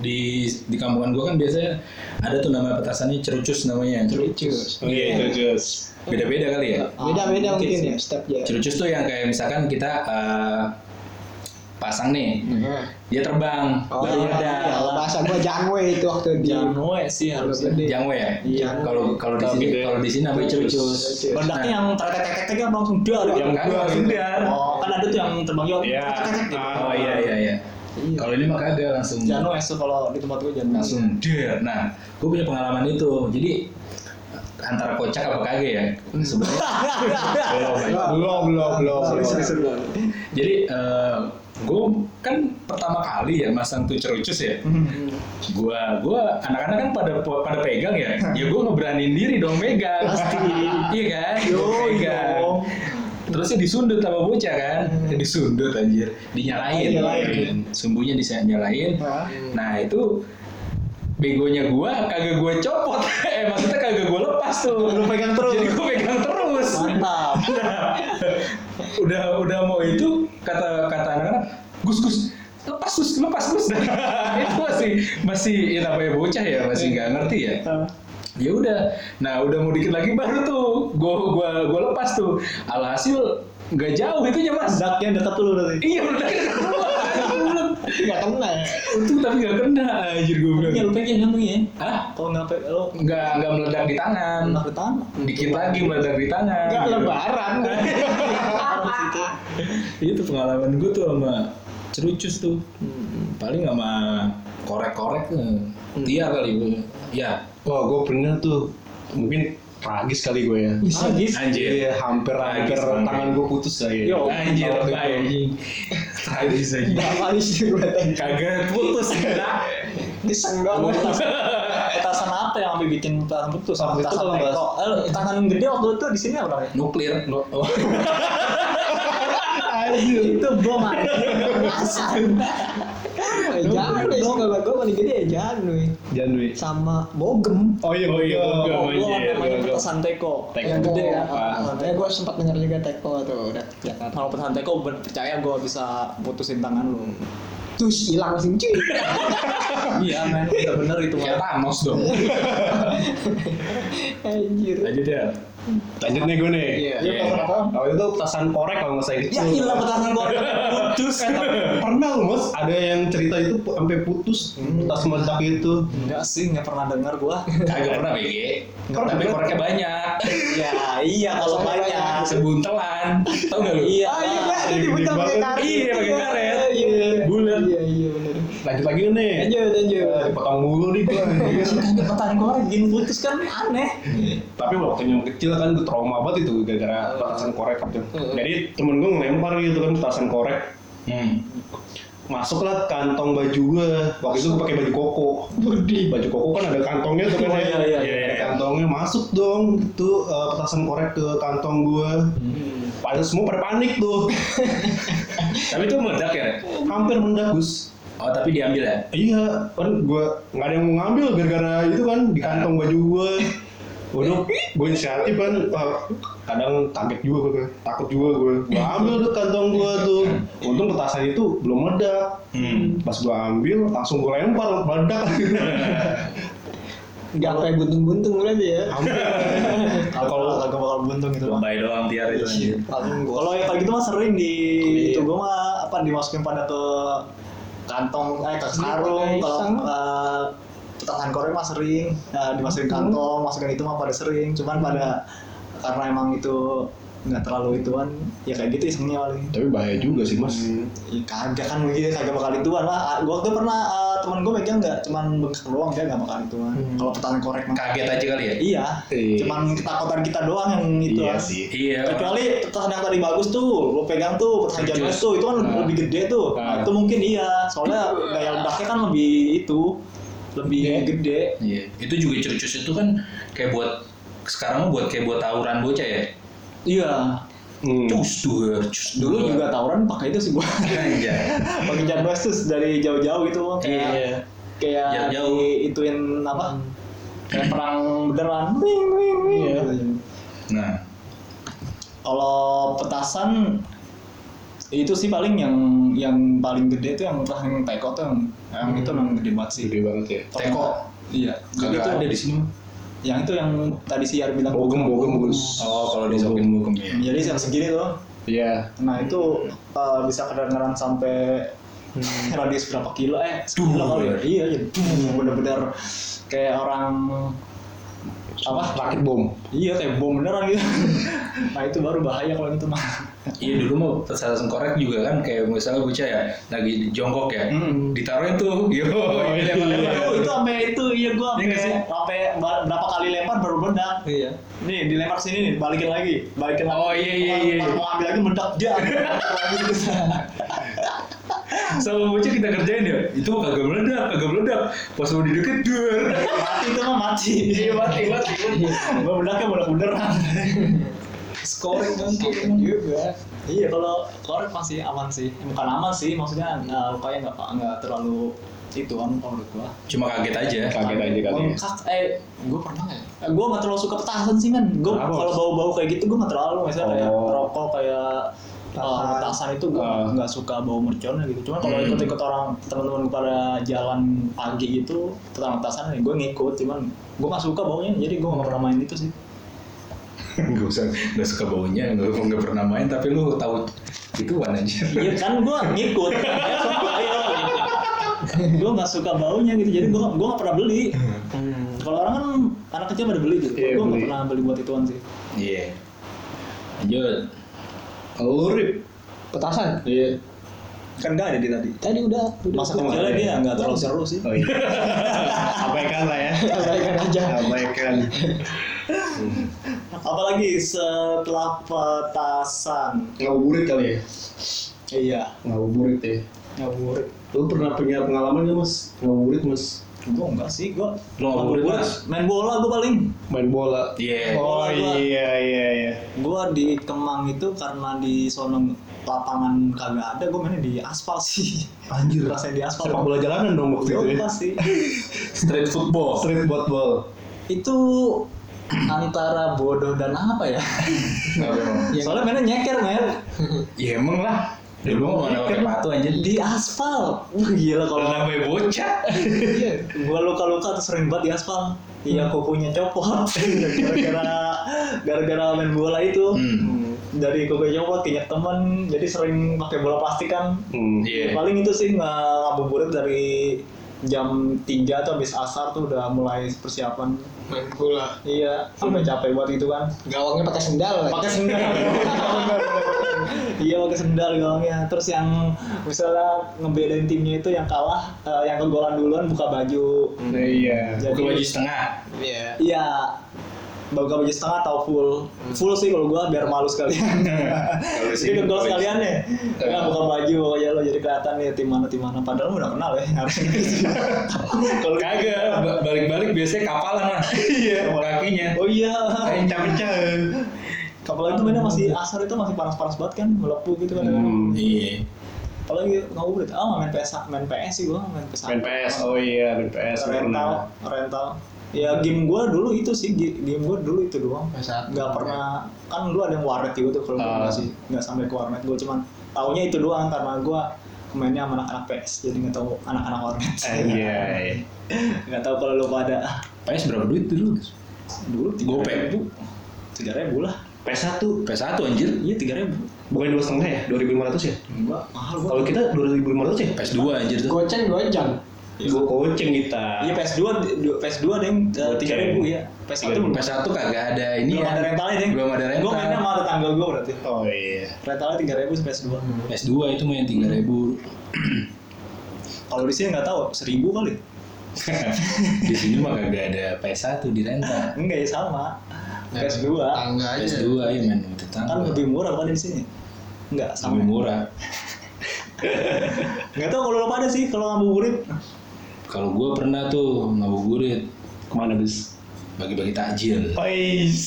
Speaker 2: di di kampungan gua kan biasanya ada tuh nama petasannya cerucus namanya.
Speaker 4: lucu
Speaker 5: Iya itu just.
Speaker 2: Beda-beda kali ya.
Speaker 4: beda beda
Speaker 1: Ah,
Speaker 4: mungkin
Speaker 1: mungkin
Speaker 4: ya stepnya
Speaker 2: Cerucus tuh yang kayak misalkan kita eh, pasang nih, dia terbang,
Speaker 4: Nah, oh
Speaker 2: baru
Speaker 4: iya,
Speaker 2: meledak.
Speaker 4: iya. bahasa gue janwe itu waktu di
Speaker 1: Janwe sih harusnya
Speaker 4: gede
Speaker 2: Jangwe ya?
Speaker 1: Iya.
Speaker 2: Kalau kalau di
Speaker 5: Kalau
Speaker 2: sini
Speaker 5: gitu ya.
Speaker 2: kalau di sini namanya cerucus. Nah,
Speaker 1: meledaknya yang tertetek-tetek kan langsung dar
Speaker 5: Yang
Speaker 1: gitu.
Speaker 5: kagak
Speaker 2: Langsung dar.
Speaker 1: oh kan ada tuh yang terbang yuk
Speaker 5: Iya.
Speaker 1: tetek-tetek gitu.
Speaker 5: Ah.
Speaker 2: Oh iya iya iya. Kalau ini mah kagak langsung.
Speaker 1: Janwe sih kalau di tempat gue Janwe
Speaker 2: langsung der. Nah, gue punya pengalaman itu. Jadi antara kocak apa kagak ya sebenarnya.
Speaker 1: Iya,
Speaker 5: Belum belum belum.
Speaker 2: Jadi gue kan pertama kali ya masang tuh cerucus ya. Gua gua anak-anak kan pada pada pegang ya. Ya gue ngeberanin diri dong megang. Pasti. iya kan? Yo,
Speaker 1: dong.
Speaker 2: terusnya disundut sama bocah kan disundut anjir
Speaker 4: Hmm.
Speaker 2: dinyalain,
Speaker 4: Dinyalain.
Speaker 2: sumbunya dinyalain
Speaker 4: Nah.
Speaker 2: nah itu begonya gua kagak gua copot eh maksudnya kagak gua lepas tuh
Speaker 4: Lu pegang terus.
Speaker 2: jadi gua pegang terus
Speaker 1: mantap
Speaker 2: udah udah mau itu kata kata anak-anak Gus Gus lepas Gus lepas Gus itu masih masih ya namanya bocah ya masih nggak ngerti ya ya udah nah udah mau dikit lagi baru tuh gua gua gua lepas tuh alhasil nggak jauh itunya mas
Speaker 4: Zaknya dekat lu berarti.
Speaker 2: iya udah deket.
Speaker 4: Enggak kena.
Speaker 2: untung tapi nggak kena anjir gue
Speaker 1: ya
Speaker 2: bilang
Speaker 1: lu pengen kan ya
Speaker 2: Hah?
Speaker 1: kalau nggak pe- lo
Speaker 2: nggak nggak meledak di tangan
Speaker 1: anak pertama
Speaker 2: dikit lagi meledak di tangan
Speaker 4: Enggak
Speaker 2: Gitu.
Speaker 4: lebaran. Orang situ.
Speaker 2: itu pengalaman gue Iya, tuh sama cerucus tuh paling sama korek-korek eh. dia kali gue ya
Speaker 5: Wah, gue pernah tuh mungkin tragis kali gue ya.
Speaker 1: sadis
Speaker 2: anjir
Speaker 5: Iya, hampir hampir
Speaker 2: Tragis banget.
Speaker 5: tangan gue putus lah ya.
Speaker 1: Yo.
Speaker 2: anjir anjing tragis aja
Speaker 4: Enggak kali sih gue tadi.
Speaker 2: kagak putus enggak
Speaker 4: Disenggol.
Speaker 1: etasan apa yang sampai bikin tangan putus
Speaker 4: Waktu itu
Speaker 1: Etasan
Speaker 4: kalau nggak-
Speaker 1: teko. Eh, lu, tangan gede waktu itu di sini apa namanya
Speaker 2: nuklir nu- oh.
Speaker 1: itu bom
Speaker 4: Eh,
Speaker 1: aja
Speaker 4: Jangan deh, kalau gue paling gede ya jangan weh.
Speaker 5: Jangan duit.
Speaker 4: Sama bogem.
Speaker 5: Oh iya, oh iya,
Speaker 1: Bom,
Speaker 5: gue
Speaker 1: bom, namanya
Speaker 5: anjir.
Speaker 1: petasan teko
Speaker 5: Teko.
Speaker 1: yang gede kan
Speaker 5: Apa?
Speaker 1: Petasan
Speaker 4: Makanya
Speaker 1: teko.
Speaker 4: gue Oh, sempat dengar juga teko tuh udah Jakarta.
Speaker 1: kalau petasan teko ben- percaya gue bisa putusin tangan lu
Speaker 4: Terus hilang sih cuy.
Speaker 1: iya men udah bener itu
Speaker 2: ya
Speaker 4: Iya.
Speaker 1: mah
Speaker 2: Thanos dong
Speaker 4: Anjir.
Speaker 2: lanjut ya
Speaker 5: Lanjut nih gue nih.
Speaker 4: Iya. Iya, petasan apa?
Speaker 5: Oh itu petasan korek kalau nggak salah
Speaker 1: ya
Speaker 5: kecil.
Speaker 1: hilang petasan korek putus
Speaker 5: Pernah loh mas, ada yang cerita itu pu- sampai putus tas meledak itu.
Speaker 1: enggak sih nggak pernah dengar gua
Speaker 2: kagak pernah BG tapi koreknya banyak
Speaker 1: ya iya kalau banyak
Speaker 2: sebuntelan tau nggak lu
Speaker 1: iya
Speaker 4: Ah iya,
Speaker 1: lah.
Speaker 4: gue ada di
Speaker 5: Gede
Speaker 4: bentang
Speaker 5: banget.
Speaker 4: kayak karet.
Speaker 2: Iya, pakai karet.
Speaker 4: Iya.
Speaker 2: bulat
Speaker 4: Iya, iya bener.
Speaker 5: Lanjut lagi nggak nih.
Speaker 4: Lanjut, lanjut.
Speaker 5: Eh, Dipotong mulu nih gue.
Speaker 1: Kagak petasan korek bikin putus kan aneh
Speaker 5: Tapi waktu yang kecil kan gue trauma banget itu gara-gara
Speaker 1: Iya.
Speaker 5: petasan korek gitu. Jadi temen gue ngelempar gitu kan petasan korek.
Speaker 2: hmm.
Speaker 5: Masuklah ke kantong baju gue. Waktu itu gue pakai baju koko. Baju koko kan ada kantongnya tuh kan
Speaker 1: Oh,
Speaker 5: ya.
Speaker 1: iya, iya, iya.
Speaker 5: Ada kantongnya masuk dong itu eh, petasan korek ke kantong gue.
Speaker 1: Hmm.
Speaker 5: Padahal semua pada panik tuh.
Speaker 2: tapi itu meledak ya Re?
Speaker 5: Hampir meledak Gus.
Speaker 2: oh tapi diambil ya
Speaker 5: Iya, kan gue nggak ada yang mau ngambil gara-gara itu kan di kantong baju gue. Waduh, gue inisiatif kan eh, kadang kaget juga gue, takut juga gue. Gue ambil tuh kantong gue tuh. Untung petasan itu belum meledak.
Speaker 2: hmm.
Speaker 5: Pas gue ambil, langsung gue lempar, meledak.
Speaker 4: Gak kayak buntung-buntung berarti ya.
Speaker 5: Hampir. Kalau
Speaker 4: kagak bakal buntung itu mah.
Speaker 2: lebay doang tiar itu anjir
Speaker 4: Paling gue.
Speaker 1: Kalau yang kayak gitu mah sering di
Speaker 4: Iya.
Speaker 1: itu gua mah apa dimasukin pada ke kantong eh ke sarung
Speaker 4: Iya,
Speaker 1: kalau
Speaker 4: iseng.
Speaker 1: eh, petasan korek mah sering nah,
Speaker 4: Hmm.
Speaker 1: dimasukin kantong masukin itu mah pada sering cuman pada karena emang itu nggak terlalu ituan ya kayak gitu isengnya paling
Speaker 5: tapi bahaya juga sih mas.
Speaker 1: Ya, kagak kan begitu kagak bakal ituan lah Ah, gua waktu pernah eh, teman gua megang nggak cuman bengkak doang dia nggak bakal ituan
Speaker 4: Hmm.
Speaker 1: kalau petasan korek mah
Speaker 2: kaget aja kali ya
Speaker 1: Iya,
Speaker 5: Iya.
Speaker 1: cuman ketakutan kita doang yang itu.
Speaker 5: Iya
Speaker 1: kan.
Speaker 5: sih.
Speaker 2: iya
Speaker 1: Kecuali petasan yang tadi bagus tuh, lo pegang tuh petasan
Speaker 2: Jujur.
Speaker 1: james tuh, itu kan
Speaker 5: Nah.
Speaker 1: lebih gede tuh. Nah,
Speaker 5: Nah.
Speaker 1: itu mungkin iya, soalnya daya ledaknya kan lebih itu, lebih gede.
Speaker 2: Iya, itu juga cercus itu kan kayak buat sekarang mah buat kayak buat tawuran bocah ya.
Speaker 1: Iya.
Speaker 5: Hmm.
Speaker 2: Cus dur, cus
Speaker 1: Dulu juga tawuran pakai itu sih gua.
Speaker 2: aja.
Speaker 1: pakai james tuh dari jauh-jauh gitu kayak
Speaker 2: Iya.
Speaker 1: kayak
Speaker 2: Jauh-jauh.
Speaker 1: di ituin apa? Kayak perang beneran. Wing wing wing.
Speaker 5: Iya.
Speaker 1: gitu.
Speaker 2: Nah,
Speaker 1: Kalau petasan itu sih paling yang yang paling gede tuh yang petasan teko tuh yang, yang itu yang gede banget sih.
Speaker 5: Gede banget ya.
Speaker 2: Teko?
Speaker 1: Iya. Jadi
Speaker 2: kagak
Speaker 1: itu
Speaker 2: ada di sini. mah.
Speaker 1: Yang itu yang tadi si Yar bilang.
Speaker 5: Bogem, bogem, Gus.
Speaker 2: Oh, kalau di shopping hukum ya.
Speaker 1: Jadi yang segini tuh.
Speaker 5: Iya.
Speaker 1: Nah itu eh, bisa kedengeran sampai radius berapa kilo eh 10 kilo kali ya.
Speaker 2: Duh.
Speaker 1: Iya iya. Duh, Bener-bener kayak orang apa?
Speaker 5: Rakit bom.
Speaker 1: Iya kayak bom beneran gitu. nah itu baru bahaya kalau gitu mah.
Speaker 2: Iya dulu mah petasan korek juga kan kayak misalnya bocah ya lagi jongkok ya.
Speaker 1: Hmm.
Speaker 2: Ditaruhin tuh. Yo, iya,
Speaker 1: Lempar,
Speaker 2: lempar.
Speaker 1: itu itu sampai itu iya gua
Speaker 2: Iya nggak sih?
Speaker 1: sampai sampai ba- berapa kali lempar baru meledak.
Speaker 4: Iya.
Speaker 1: Nih dilempar sini nih balikin lagi, balikin lagi.
Speaker 2: Oh, iya, iya,
Speaker 1: Pas-
Speaker 2: iya.
Speaker 1: pas Mau ambil lagi meledak dia.
Speaker 2: Sama bocah kita kerjain ya. Itu mah kagak meledak, kagak meledak. Pas mau dideket dur.
Speaker 1: mati itu mah mati.
Speaker 2: Iya, mati, mati.
Speaker 1: Gua meledaknya meledak beneran. scoring mungkin juga iya kalau korek masih aman sih bukan aman sih maksudnya uh, lukanya nggak nggak terlalu itu kan kalau menurut gua
Speaker 2: Cuma kaget aja.
Speaker 5: Kaget aja kali ya.
Speaker 1: Bengkak, eh gue pernah ya eh, gue nggak terlalu suka petasan sih men gue
Speaker 5: Kenapa?
Speaker 1: kalau bau-bau kayak gitu gue nggak terlalu misalnya kayak
Speaker 5: Oh.
Speaker 1: rokok kayak
Speaker 4: Petasan.
Speaker 1: eh, petasan itu gue
Speaker 5: Ah.
Speaker 1: nggak suka bau merconnya gitu cuman kalau
Speaker 2: Hmm.
Speaker 1: ikut-ikut orang teman-teman gue pada jalan pagi gitu tentang petasan gue ngikut cuman gue nggak suka baunya jadi gue nggak pernah main itu sih
Speaker 2: Gak usah, gak suka baunya, gak, gak pernah main, tapi lu tahu gituan aja.
Speaker 1: iya kan gue ngikut Ayo, Iya, sumpah, ayo gue nggak suka baunya gitu jadi gue gue nggak pernah beli kalau orang kan anak kecil pada beli gitu
Speaker 5: Hmm. Iya,
Speaker 1: gue nggak
Speaker 5: beli.
Speaker 1: pernah beli buat ituan sih
Speaker 2: Iya. Lanjut. Lu Rip.
Speaker 4: Petasan.
Speaker 5: Iya.
Speaker 1: kan nggak ada di tadi
Speaker 4: Tadi udah udah
Speaker 1: masa kecilnya dia nggak terlalu seru sih
Speaker 5: Oh iya. Abaikan lah ya.
Speaker 4: Abaikan aja.
Speaker 5: Abaikan.
Speaker 1: apalagi setelah petasan
Speaker 5: Ngabuburit kali ya.
Speaker 1: iya
Speaker 5: Ngabuburit ya.
Speaker 1: ngabuburit
Speaker 5: Lu pernah punya pengalaman nggak mas? Ngabuburit mas?
Speaker 1: gue enggak sih gue
Speaker 2: Lu ngabuburit, Mas?
Speaker 1: main bola gue paling
Speaker 5: Main bola.
Speaker 2: Iya.
Speaker 5: Oh
Speaker 1: Bola gua.
Speaker 5: iya iya iya.
Speaker 1: gue di Kemang itu karena di sono lapangan kagak ada gue mainnya di aspal sih
Speaker 5: Anjir.
Speaker 1: rasanya di aspal
Speaker 5: Sepak bola jalanan dong waktu itu
Speaker 1: Yo,
Speaker 5: ya.
Speaker 1: pasti.
Speaker 2: Street football.
Speaker 5: Street football.
Speaker 1: itu antara bodoh dan apa ya
Speaker 2: Nah,
Speaker 1: soalnya mainnya nyeker men
Speaker 2: Iya emang lah. Dulu mau mana pakai patu aja.
Speaker 1: di aspal Wah, gila
Speaker 2: Kalau
Speaker 1: kalau
Speaker 2: namanya bocah.
Speaker 1: Iya, gua luka-luka tuh sering banget di aspal iya
Speaker 2: Hmm.
Speaker 1: kukunya copot gara-gara gara-gara main bola itu
Speaker 2: Hmm.
Speaker 1: dari kukunya copot keinjak temen jadi sering pakai bola plastik kan
Speaker 5: Hmm.
Speaker 2: Iya.
Speaker 1: paling itu sih nggak ngabuburit dari jam 3 atau habis asar tuh udah mulai persiapan
Speaker 4: Main bola.
Speaker 1: iya
Speaker 2: Hmm.
Speaker 1: sampai capek buat itu kan
Speaker 4: Gawangnya pakai sendal. ya? lagi.
Speaker 1: pakai sendal iya pakai sendal gawangnya terus yang misalnya ngebedain timnya itu yang kalah eh, yang kegolan duluan buka baju
Speaker 5: Nah, iya.
Speaker 2: Buka baju setengah.
Speaker 4: Iya.
Speaker 1: Iya. Buka baju setengah atau full? Full sih kalau gua biar malu sekalian.
Speaker 2: Kalau
Speaker 1: Jadi
Speaker 2: sini
Speaker 1: kan
Speaker 2: buka baju-
Speaker 1: sekalian ya. Enggak buka baju ya lo jadi kelihatan nih tim mana tim mana padahal udah kenal ya.
Speaker 2: Kalau kagak ba- balik-balik biasanya kapalan lah. Iya. Kakinya.
Speaker 1: oh iya.
Speaker 2: Encam-encam.
Speaker 1: Apalagi itu mainnya masih asar itu masih panas-panas banget kan, melepuh gitu kan.
Speaker 5: Hmm.
Speaker 2: Iya.
Speaker 1: Apalagi ngabuburit. Ah, main PS main PS sih gua, main PS.
Speaker 5: Main PS. Oh iya, main PS.
Speaker 1: rental,
Speaker 5: pernah.
Speaker 1: rental. Ya game gua dulu itu sih, ge- game gua dulu itu doang.
Speaker 4: PS1.
Speaker 1: Gak pernah, kan lu ada yang warnet gitu tuh kalau gua
Speaker 5: Ah.
Speaker 1: nggak sih, nggak sampai ke warnet. Gua cuman taunya itu doang karena gua mainnya sama anak-anak PS, jadi nggak tahu anak-anak warnet.
Speaker 5: Eh, Iya. iya.
Speaker 1: Nggak tahu kalau lu pada
Speaker 2: PS berapa duit dulu?
Speaker 1: dulu tiga
Speaker 2: Gopay.
Speaker 1: ribu, tiga ribu lah.
Speaker 5: PS1
Speaker 2: PS1 anjir.
Speaker 1: Iya tiga ribu.
Speaker 5: bukan dua setengah ya, 2500 ya.
Speaker 1: Gua mahal gua.
Speaker 5: Kalau kita 2500 ya.
Speaker 2: PS2 anjir tuh.
Speaker 4: Goceng dua jam.
Speaker 5: Dua goceng kita.
Speaker 1: Iya PS2, du- PS2 deh, tiga ribu ya. PS1 belum.
Speaker 2: PS1 kagak ada ini
Speaker 1: Belum
Speaker 2: ya.
Speaker 1: ada rentalnya deh.
Speaker 2: Belum ada rental.
Speaker 1: Gua mainnya sama tetangga gua berarti.
Speaker 5: Oh iya.
Speaker 1: Rentalnya tiga ribu PS2.
Speaker 2: PS2 itu main 3000.
Speaker 1: Kalau di sini nggak tahu, seribu kali.
Speaker 2: di sini mah kagak ada PS1 di rental.
Speaker 1: Enggak ya sama.
Speaker 4: Ya,
Speaker 1: PS2
Speaker 4: Tangga aja.
Speaker 2: PS2 ya main
Speaker 1: kan
Speaker 2: sama tetangga.
Speaker 1: lebih murah kan di sini. Enggak
Speaker 2: Lebih
Speaker 1: sama. ya?
Speaker 2: murah.
Speaker 1: Enggak tahu kalau lo pada sih kalau ngabuburit.
Speaker 2: Kalau gua pernah tuh ngabuburit
Speaker 5: Kemana bis?
Speaker 2: bagi-bagi takjil.
Speaker 5: Pais.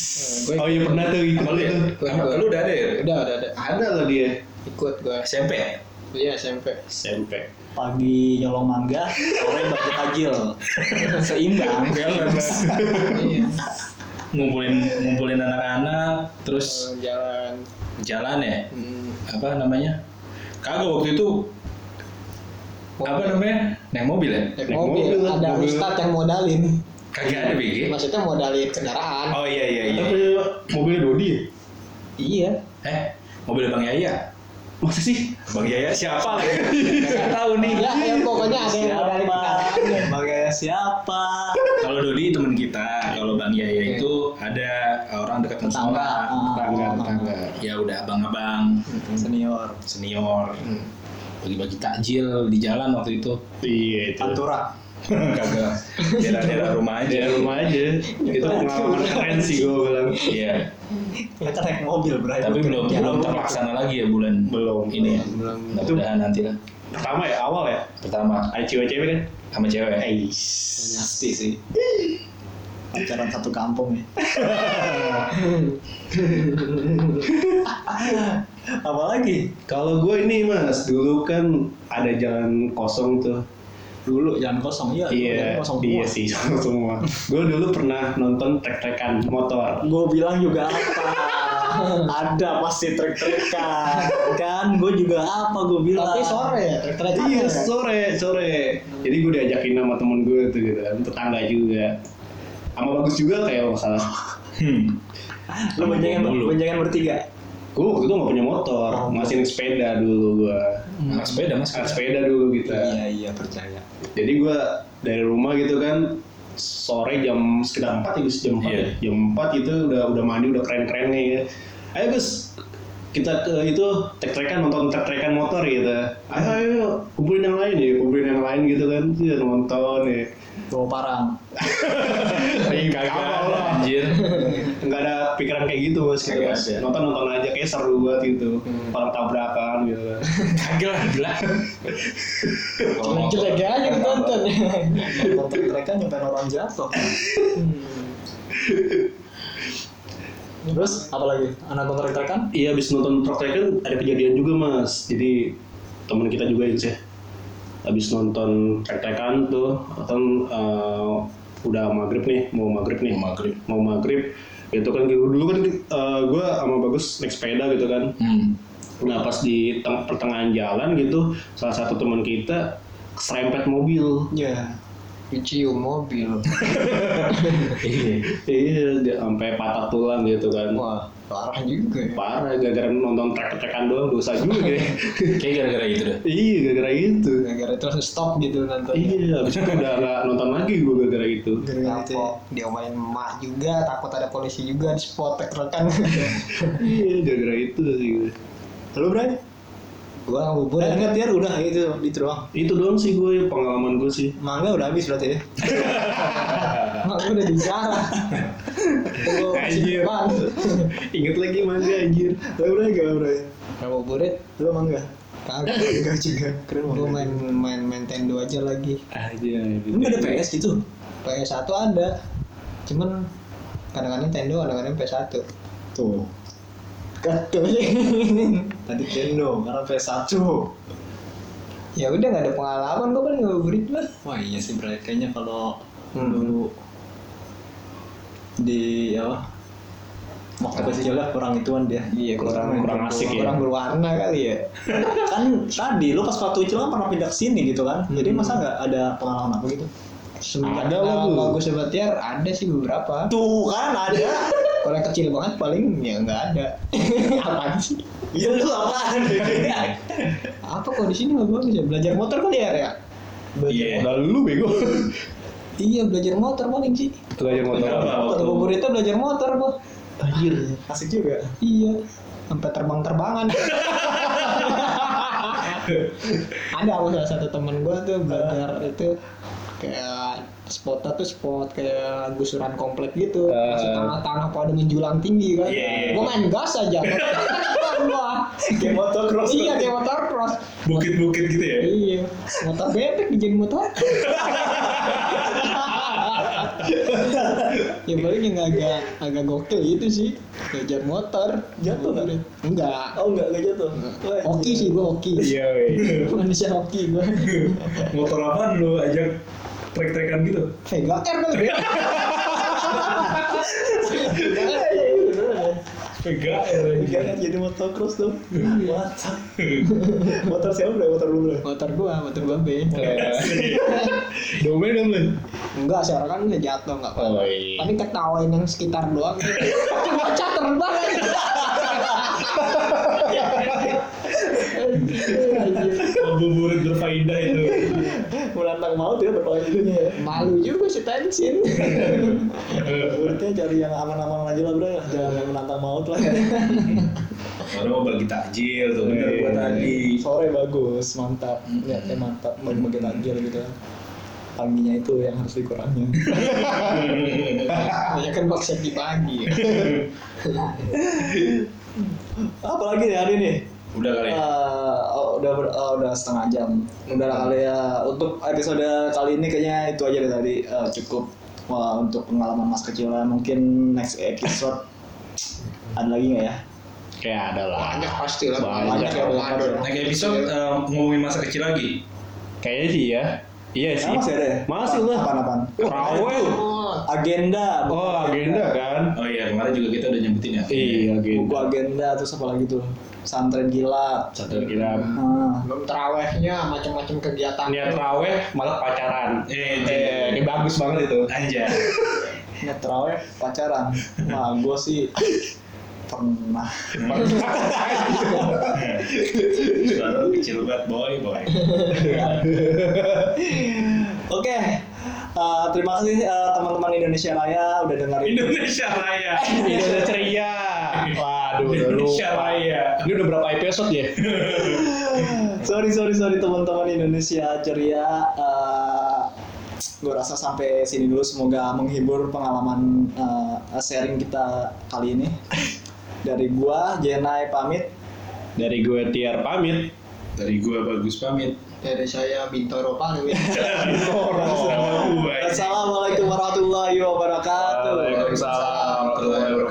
Speaker 5: Oh iya pernah tuh ikut
Speaker 2: Sama lu ya?
Speaker 5: tuh.
Speaker 2: Sama lu udah ada ya?
Speaker 4: Udah, udah, udah.
Speaker 5: Ada lah dia.
Speaker 4: Ikut gue.
Speaker 2: SMP ya?
Speaker 4: Iya SMP.
Speaker 5: SMP.
Speaker 1: Pagi nyolong mangga, sore bagi tajil. Seimbang.
Speaker 4: Iya.
Speaker 2: ngumpulin ngumpulin anak-anak terus
Speaker 4: Eh, Jalan.
Speaker 2: jalan ya
Speaker 4: Hmm.
Speaker 2: apa namanya kagak waktu itu apa namanya naik mobil ya
Speaker 4: Naik
Speaker 5: Naik
Speaker 4: mobil,
Speaker 5: mobil,
Speaker 4: ada
Speaker 5: mobil.
Speaker 4: ustadz yang modalin
Speaker 2: kagak ada BG
Speaker 4: maksudnya modalin kendaraan
Speaker 2: oh iya iya iya
Speaker 5: Tapi mobilnya Dodi. ya?
Speaker 4: iya
Speaker 2: eh mobil bang Yaya
Speaker 5: Masa sih?
Speaker 2: bang Yaya siapa lagi nggak tahu nih
Speaker 4: ya yang pokoknya ada yang modalin kendaraan
Speaker 1: Siapa? Bagai siapa?
Speaker 2: kalau Dodi teman kita kalau bang Yaya itu ada eh, orang dekat musola
Speaker 5: Tetangga, Ah. tetangga.
Speaker 2: ya udah abang-abang
Speaker 1: Senior.
Speaker 2: senior
Speaker 5: Hmm.
Speaker 2: bagi-bagi takjil di jalan waktu itu
Speaker 5: Iya itu.
Speaker 1: Pantura.
Speaker 2: kagak daerah-daerah rumah aja
Speaker 5: Di rumah aja. Itu pengalaman keren sih gue bilang.
Speaker 2: iya
Speaker 1: Kita naik mobil berarti.
Speaker 2: tapi belum belum terlaksana lagi ya bulan
Speaker 5: Belum.
Speaker 2: ini ya
Speaker 4: Belum.
Speaker 2: mudah-mudahan nanti lah
Speaker 5: Pertama ya awal ya.
Speaker 2: pertama
Speaker 5: ICW kan.
Speaker 2: sama cewek
Speaker 5: Ais.
Speaker 1: Pasti sih. pacaran satu kampung ya apalagi
Speaker 5: Kalau gue ini mas, dulu kan ada jalan kosong tuh.
Speaker 1: dulu jangan kosong iya
Speaker 5: Iya,
Speaker 1: jangan kosong
Speaker 5: iya sih sama semua. gue dulu pernah nonton trek-trekan motor.
Speaker 1: gue bilang juga apa ada pasti trek-trekan kan gue juga apa gue bilang
Speaker 4: Tapi sore ya, trek-trek
Speaker 5: Iya sore sore. Jadi gue diajakin sama temen gue tuh gitu, kan, tetangga juga. Sama bagus juga ya, kayak masalah.
Speaker 2: Hmm.
Speaker 1: lu boncengan
Speaker 2: Dulu.
Speaker 1: boncengan bertiga
Speaker 5: Gue waktu itu gak punya motor, masih naik sepeda dulu gue.
Speaker 2: Anak sepeda mas.
Speaker 5: Naik sepeda dulu kita.
Speaker 1: iya percaya
Speaker 5: Jadi gue dari rumah gitu kan sore jam sekitar 4 ya Gus, jam 4
Speaker 2: Iya.
Speaker 5: jam 4 itu udah udah mandi udah keren-keren nih ya. ayo Gus kita ke itu trek-trekan nonton trek-trekan motor gitu ayo ayo kumpulin yang lain ya kumpulin yang lain gitu kan ya, nonton
Speaker 2: Iya,
Speaker 5: ya
Speaker 1: bawa parang
Speaker 2: Kagak
Speaker 5: Kapal
Speaker 2: ada
Speaker 5: lah.
Speaker 2: anjir.
Speaker 5: nggak ada pikiran kayak gitu bos gitu
Speaker 2: Kagak
Speaker 5: Mas.
Speaker 2: ada. Hmm.
Speaker 5: nonton nonton aja kayak seru banget gitu orang tabrakan gitu kan
Speaker 2: Kagak lah gila.
Speaker 4: Jelek-jelek aja ditonton.
Speaker 1: nonton trek-trekan nyampe orang jatuh terus apalagi anak nonton trek-trekan
Speaker 5: Iya, habis nonton trek-trekan ada kejadian juga, Mas. Jadi teman kita juga itu ya. Habis nonton trek-trekan tuh, kan eh, udah maghrib nih, mau maghrib nih.
Speaker 2: Mau maghrib.
Speaker 5: Mau maghrib. Itu kan dulu, dulu kan gue sama Bagus naik sepeda gitu kan.
Speaker 2: Hmm.
Speaker 5: Nah pas di teng- pertengahan jalan gitu, salah satu teman kita serempet mobil.
Speaker 1: iya
Speaker 4: Dicium mobil.
Speaker 5: Iya, dia sampai patah tulang gitu kan.
Speaker 4: Wah, parah juga. ya.
Speaker 5: Parah, gara-gara nonton trek-trekan doang dosa juga.
Speaker 2: Kayak gara-gara itu deh.
Speaker 5: iya, gara-gara itu.
Speaker 4: Gara-gara terus stop gitu nontonnya.
Speaker 5: Iya, abis itu udah gak nonton lagi gue gara-gara itu.
Speaker 1: gara-gara itu ya.
Speaker 4: Kapok, dia main emak juga, takut ada polisi juga di spot trek-trekan.
Speaker 5: Iya, gara-gara itu sih. gue.
Speaker 1: lu Bray?
Speaker 4: Gua bubur
Speaker 1: udah inget ya udah itu itu doang
Speaker 5: Itu doang sih gue pengalaman gue sih.
Speaker 1: mangga udah habis berarti ya
Speaker 4: Mak gue udah bicara. Gue
Speaker 5: Anjir.
Speaker 4: masih depan.
Speaker 5: Ingat lagi mangga anjir.
Speaker 1: lu Bray gak Bray?
Speaker 4: Kalau buburit,
Speaker 1: ya? lu mangga?
Speaker 4: kagak.
Speaker 1: enggak juga keren
Speaker 4: Gue main main Nintendo aja lagi.
Speaker 5: Aja.
Speaker 1: Ini ada PS gitu
Speaker 4: PS1 ada, cuman kadang-kadang Nintendo, kadang-kadang PS1.
Speaker 1: tuh
Speaker 4: Gatel.
Speaker 1: tadi Nintendo karena PS1
Speaker 4: ya udah nggak ada pengalaman gue kan nggak buburit lah.
Speaker 1: wah iya sih Bray kayaknya kalau
Speaker 4: Hmm.
Speaker 1: dulu di apa waktu kecil lah kurang ituan dia
Speaker 4: Iya kurang
Speaker 5: kurang asik ya.
Speaker 4: Kurang berwarna kali ya.
Speaker 1: kan tadi lu pas waktu kecil kan pernah pindah ke sini gitu kan jadi
Speaker 4: Hmm.
Speaker 1: masa nggak ada pengalaman apa gitu
Speaker 4: Semenjak
Speaker 5: Ada
Speaker 4: ada
Speaker 5: lah, Bu.
Speaker 4: gue sebatiar ya ada sih beberapa.
Speaker 1: tuh kan ada
Speaker 4: Orang kecil banget paling ya nggak ada. Apaan sih?
Speaker 1: ya lu apaan
Speaker 4: Apa kok di sini nggak bagus ya? Belajar motor kali ya ya?
Speaker 5: Iya. Udah lu bego.
Speaker 4: Iya belajar motor paling sih.
Speaker 5: Belajar motor.
Speaker 2: Kenapa?
Speaker 4: Waktu
Speaker 2: Waktu-
Speaker 4: gue itu belajar motor gua.
Speaker 1: anjir asik juga
Speaker 4: Iya. Sampai terbang-terbangan. ada aku salah satu temen gue tuh belajar itu kayak spotnya tuh spot kayak gusuran komplek gitu masih
Speaker 5: Eh.
Speaker 4: tanah-tanah pada menjulang tinggi kan
Speaker 5: Iya, iya,
Speaker 4: gue
Speaker 5: iya.
Speaker 4: main gas aja Wah.
Speaker 1: kayak motocross
Speaker 4: iya kayak motor cross
Speaker 2: Bukit-bukit gitu ya.
Speaker 4: iya motor bebek dijadiin motor ya paling yang agak agak gokil itu sih belajar motor
Speaker 1: Jatuh nggak?
Speaker 4: enggak
Speaker 1: oh iya. enggak enggak jatuh Wah,
Speaker 4: Hmm. hoki sih gue hoki
Speaker 5: Iya, weh.
Speaker 4: manusia hoki gue
Speaker 2: Motor apaan lu ajak trek-trekan gitu?
Speaker 4: Vega R kali ya
Speaker 2: Vega
Speaker 1: ya. Iya kan jadi motocross tuh
Speaker 4: Hmm.
Speaker 1: Mantap Motor siapa udah motor lu udah
Speaker 4: motor gua motor gua B
Speaker 5: Eh. Domain dong lu.
Speaker 4: enggak seorang kan udah jatuh enggak apa
Speaker 5: Oh, iya.
Speaker 4: tapi ketawain yang sekitar doang bocah terbang
Speaker 2: Buburit berfaedah itu.
Speaker 1: Menantang maut ya berpaling dulunya ya
Speaker 4: malu juga si tensin Hmm.
Speaker 1: Muridnya cari yang aman-aman aja lah bro ya. Jangan yang menantang maut lah
Speaker 2: Baru mau bagi takjil tuh. Bener
Speaker 5: Iya.
Speaker 2: gua tadi.
Speaker 1: Sore bagus, mantap Lihatnya mantap, bagi-bagi takjil gitu kan Paginya itu yang harus dikurangi
Speaker 4: ya kan paksa dibagi
Speaker 1: Apalagi nih hari ini
Speaker 2: Udah kali. ya?
Speaker 1: Eh, oh, udah ber- oh, udah setengah jam. Udah lah kali ya. Untuk episode kali ini kayaknya itu aja deh tadi Eh, cukup. Wah, untuk pengalaman mas kecilnya mungkin next episode ada lagi nggak ya?
Speaker 5: Kayak ada lah.
Speaker 6: Banyak pasti lah.
Speaker 5: Banyak.
Speaker 6: Banyak. Ramadan.
Speaker 2: Next episode eh, ngomongin masa kecil lagi.
Speaker 5: Kayaknya sih ya. Iya
Speaker 1: Ya,
Speaker 5: sih.
Speaker 1: masih ada ya?
Speaker 5: Masih lah.
Speaker 1: Apaan apaan?
Speaker 5: Rawel.
Speaker 1: Agenda. buku
Speaker 5: Oh agenda kan.
Speaker 2: Oh iya kemarin juga kita udah nyebutin ya.
Speaker 5: Iya
Speaker 1: Buku
Speaker 5: agenda.
Speaker 1: agenda terus apa lagi tuh? Santren gila.
Speaker 5: Satu kira
Speaker 1: Nah,
Speaker 6: Belum terawehnya, macam-macam kegiatan.
Speaker 5: niat raweh malah pacaran.
Speaker 2: Eh,
Speaker 5: Eh, ini bagus banget itu.
Speaker 2: Anjay.
Speaker 1: niat terawih pacaran. Nah, gue sih pernah.
Speaker 2: Suara lu kecil banget boy boy.
Speaker 1: Oke, eh, terima kasih eh, teman-teman Indonesia Raya udah dengerin.
Speaker 2: Indonesia Raya.
Speaker 5: Indonesia ceria. Waduh, udah
Speaker 2: Indonesia
Speaker 5: lupa.
Speaker 2: Raya.
Speaker 5: Ini udah berapa episode ya?
Speaker 1: sorry sorry sorry teman-teman Indonesia ceria gue rasa sampai sini dulu semoga menghibur pengalaman eh, sharing kita kali ini dari gua Jenai pamit
Speaker 5: Dari gue Tiar pamit.
Speaker 2: Dari gua bagus pamit.
Speaker 6: Dari saya Bintoro Palwi.
Speaker 2: Orang sama gua.
Speaker 5: Oh,
Speaker 1: assalamualaikum warahmatullahi wabarakatuh
Speaker 5: Waalaikumsalam warahmatullahi wabarakatuh.